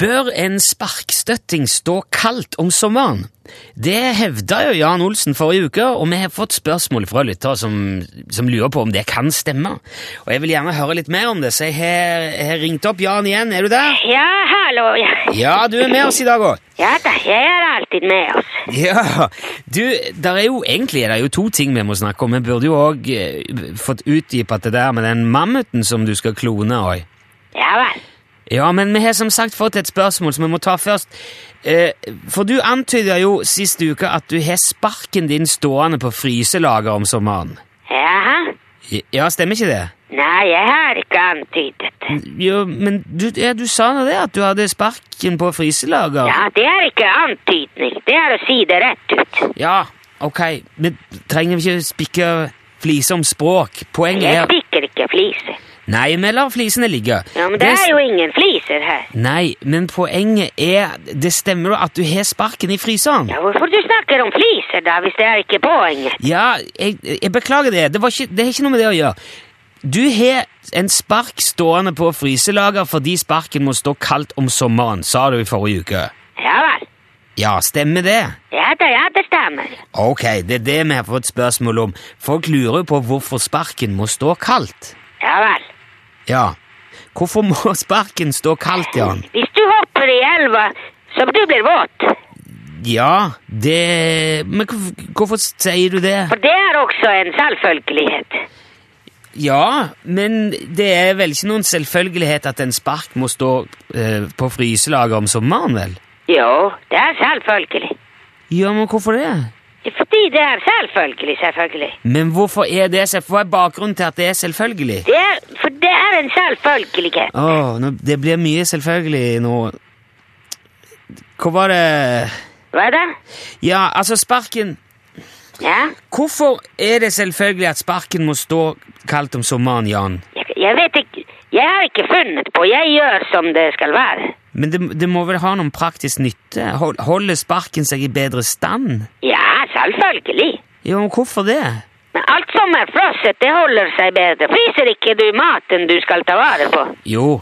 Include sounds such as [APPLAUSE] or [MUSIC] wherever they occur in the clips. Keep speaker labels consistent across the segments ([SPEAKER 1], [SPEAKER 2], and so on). [SPEAKER 1] Bør en sparkstøtting stå kaldt om sommeren? Det hevda jo Jan Olsen forrige uke, og vi har fått spørsmål fra lyttere som, som lurer på om det kan stemme. Og jeg vil gjerne høre litt mer om det, så jeg har, jeg har ringt opp Jan igjen. Er du der?
[SPEAKER 2] Ja, hallo. Ja,
[SPEAKER 1] Ja, du er med oss i dag òg.
[SPEAKER 2] ja da, jeg er alltid med oss.
[SPEAKER 1] Ja, du, der er jo egentlig er det jo to ting vi må snakke om. Vi burde jo òg fått utdypet det der med den mammuten som du skal klone. Oi.
[SPEAKER 2] Ja vel.
[SPEAKER 1] Ja, men vi har som sagt fått et spørsmål som vi må ta først. Eh, for du antyda jo sist uke at du har sparken din stående på fryselager om sommeren.
[SPEAKER 2] Jaha.
[SPEAKER 1] I- Ja, stemmer ikke det?
[SPEAKER 2] Nei, jeg har ikke antydet.
[SPEAKER 1] Jo, men du, ja, du sa nå det, at du hadde sparken på fryselager.
[SPEAKER 2] Ja, det er ikke antydning. Det er å si det rett ut.
[SPEAKER 1] Ja, ok, men trenger vi ikke spikke fliser om språk? Poenget
[SPEAKER 2] Jeg
[SPEAKER 1] er
[SPEAKER 2] stikker ikke fliser.
[SPEAKER 1] Nei, vi lar flisene ligge.
[SPEAKER 2] Ja, men det
[SPEAKER 1] s-
[SPEAKER 2] er jo ingen fliser her.
[SPEAKER 1] Nei, men poenget er Det stemmer jo at du har sparken i fryseren.
[SPEAKER 2] Ja, hvorfor du snakker om fliser da, hvis det er ikke poenget?
[SPEAKER 1] Ja, jeg, jeg beklager det. Det, var ikke, det har ikke noe med det å gjøre. Du har en spark stående på fryselager fordi sparken må stå kaldt om sommeren, sa du i forrige uke.
[SPEAKER 2] Ja vel.
[SPEAKER 1] Ja, stemmer det?
[SPEAKER 2] Ja da, ja, det stemmer.
[SPEAKER 1] Ok, det er det vi har fått spørsmål om. Folk lurer på hvorfor sparken må stå kaldt.
[SPEAKER 2] Ja vel.
[SPEAKER 1] Ja, hvorfor må [LAUGHS] sparken stå kaldt, Jan?
[SPEAKER 2] Hvis du hopper i elva, så du blir våt.
[SPEAKER 1] Ja, det Men hvorf- hvorfor sier du det?
[SPEAKER 2] For det er også en selvfølgelighet.
[SPEAKER 1] Ja, men det er vel ikke noen selvfølgelighet at en spark må stå eh, på fryselager om sommeren, vel?
[SPEAKER 2] Jo, det er selvfølgelig.
[SPEAKER 1] Ja, men hvorfor det?
[SPEAKER 2] Fordi det er selvfølgelig, selvfølgelig.
[SPEAKER 1] Men hvorfor er det selv- Hva er bakgrunnen til at det er selvfølgelig?
[SPEAKER 2] Det er, for det er en selvfølgelighet.
[SPEAKER 1] Åh, nå, det blir mye selvfølgelig nå. Hva var det
[SPEAKER 2] Hva da?
[SPEAKER 1] Ja, altså, sparken
[SPEAKER 2] Ja?
[SPEAKER 1] Hvorfor er det selvfølgelig at sparken må stå kaldt om sommeren, Jan?
[SPEAKER 2] Jeg, jeg vet ikke Jeg har ikke funnet på. Jeg gjør som det skal være.
[SPEAKER 1] Men det, det må vel ha noen praktisk nytte? Hol- Holder sparken seg i bedre stand?
[SPEAKER 2] Ja, selvfølgelig.
[SPEAKER 1] Ja, men hvorfor det?
[SPEAKER 2] Men alt som er frosset, det holder seg bedre. Spiser ikke du maten du skal ta vare på?
[SPEAKER 1] Jo,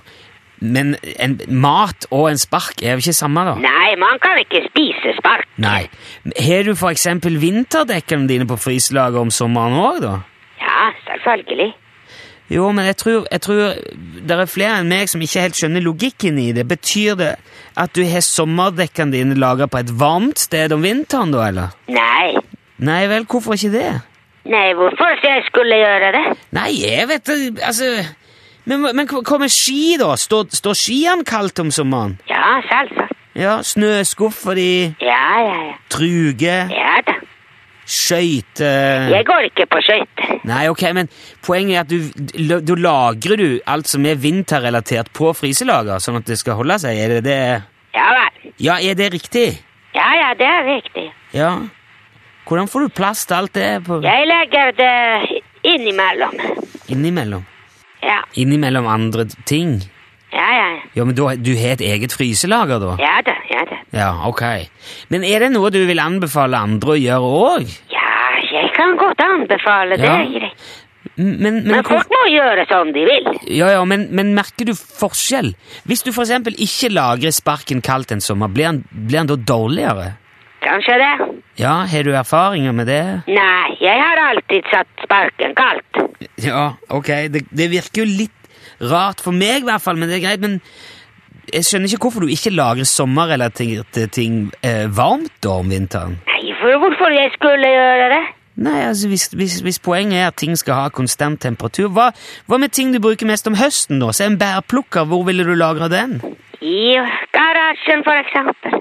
[SPEAKER 1] men en mat og en spark er jo ikke samme, da.
[SPEAKER 2] Nei, man kan ikke spise spark.
[SPEAKER 1] Nei. Har du for eksempel vinterdekkene dine på fryselager om sommeren òg, da?
[SPEAKER 2] Ja, selvfølgelig.
[SPEAKER 1] Jo, men jeg tror, jeg tror det er flere enn meg som ikke helt skjønner logikken i det. Betyr det at du har sommerdekkene dine lagra på et varmt sted om vinteren, da, eller?
[SPEAKER 2] Nei.
[SPEAKER 1] Nei vel, hvorfor ikke det?
[SPEAKER 2] Nei, hvorfor jeg skulle gjøre det?
[SPEAKER 1] Nei, jeg vet det, altså Men, men hva med ski, da? Står, står skiene kaldt om sommeren?
[SPEAKER 2] Ja, selvsagt.
[SPEAKER 1] Ja, snøskuffer de,
[SPEAKER 2] Ja, ja, ja.
[SPEAKER 1] truger
[SPEAKER 2] Ja da.
[SPEAKER 1] skøyter
[SPEAKER 2] Jeg går ikke på skøyter.
[SPEAKER 1] Nei, ok, men poenget er at du, du lagrer du alt som er vinterrelatert på fryselager, sånn at det skal holde seg. Er det det?
[SPEAKER 2] Ja vel.
[SPEAKER 1] Ja, er det riktig?
[SPEAKER 2] Ja, ja, det er riktig.
[SPEAKER 1] Ja. Hvordan får du plass til alt det på,
[SPEAKER 2] Jeg legger det innimellom.
[SPEAKER 1] innimellom?
[SPEAKER 2] Ja,
[SPEAKER 1] Innimellom andre ting?
[SPEAKER 2] ja, ja. ja.
[SPEAKER 1] Ja, men da, du har et eget fryselager, da?
[SPEAKER 2] Ja da, ja da.
[SPEAKER 1] Ja, ok. Men er det noe du vil anbefale andre å gjøre òg?
[SPEAKER 2] Ja, jeg kan godt anbefale det.
[SPEAKER 1] Ja,
[SPEAKER 2] er greit.
[SPEAKER 1] Men, men,
[SPEAKER 2] Men folk må gjøre som de vil.
[SPEAKER 1] ja, ja, men, men merker du forskjell? Hvis du for eksempel ikke lagrer sparken kaldt en sommer, blir den, blir den da dårligere?
[SPEAKER 2] Kanskje det?
[SPEAKER 1] Ja, har du erfaringer med det?
[SPEAKER 2] Nei, jeg har alltid satt sparken kaldt.
[SPEAKER 1] Ja, ok. Det, det virker jo litt rart for meg, i hvert fall, men det er greit. Men jeg skjønner ikke hvorfor du ikke lagrer sommerrelaterte ting eh, varmt da om vinteren.
[SPEAKER 2] Nei, for hvorfor jeg skulle gjøre det?
[SPEAKER 1] Nei, altså hvis, hvis, hvis poenget er at ting skal ha konstant temperatur, hva, hva med ting du bruker mest om høsten, da? Se en bærplukker, hvor ville du lagre den?
[SPEAKER 2] I garasjen, for eksempel.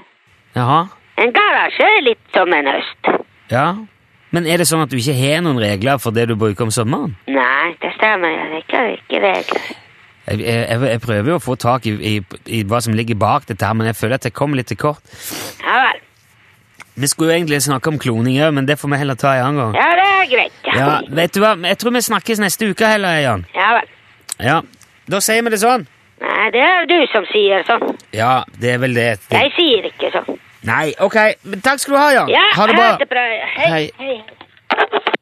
[SPEAKER 1] Jaha.
[SPEAKER 2] En garasje er litt som en høst.
[SPEAKER 1] Ja. Men er det sånn at du ikke har noen regler for det du bruker om sommeren?
[SPEAKER 2] Nei, det stemmer. Det er ikke, ikke regler.
[SPEAKER 1] Jeg, jeg, jeg- jeg prøver jo å få tak i, i, i hva som ligger bak dette, her, men jeg føler at jeg kommer litt til kort.
[SPEAKER 2] Ja vel.
[SPEAKER 1] Vi skulle jo egentlig snakke om kloning òg, men det får vi heller ta en annen gang.
[SPEAKER 2] Ja, det er greit.
[SPEAKER 1] Ja, vet du hva? Jeg tror vi snakkes neste uke heller, Jan.
[SPEAKER 2] ja vel.
[SPEAKER 1] Ja, Da sier vi det sånn.
[SPEAKER 2] Nei, det er du som sier sånn.
[SPEAKER 1] Ja, det er vel det.
[SPEAKER 2] Jeg sier ikke sånn.
[SPEAKER 1] Nei, ok. Men takk skal du ha, Jan.
[SPEAKER 2] Ja,
[SPEAKER 1] Ha det bra.
[SPEAKER 2] bra.
[SPEAKER 1] Hei.
[SPEAKER 2] Hei. hei.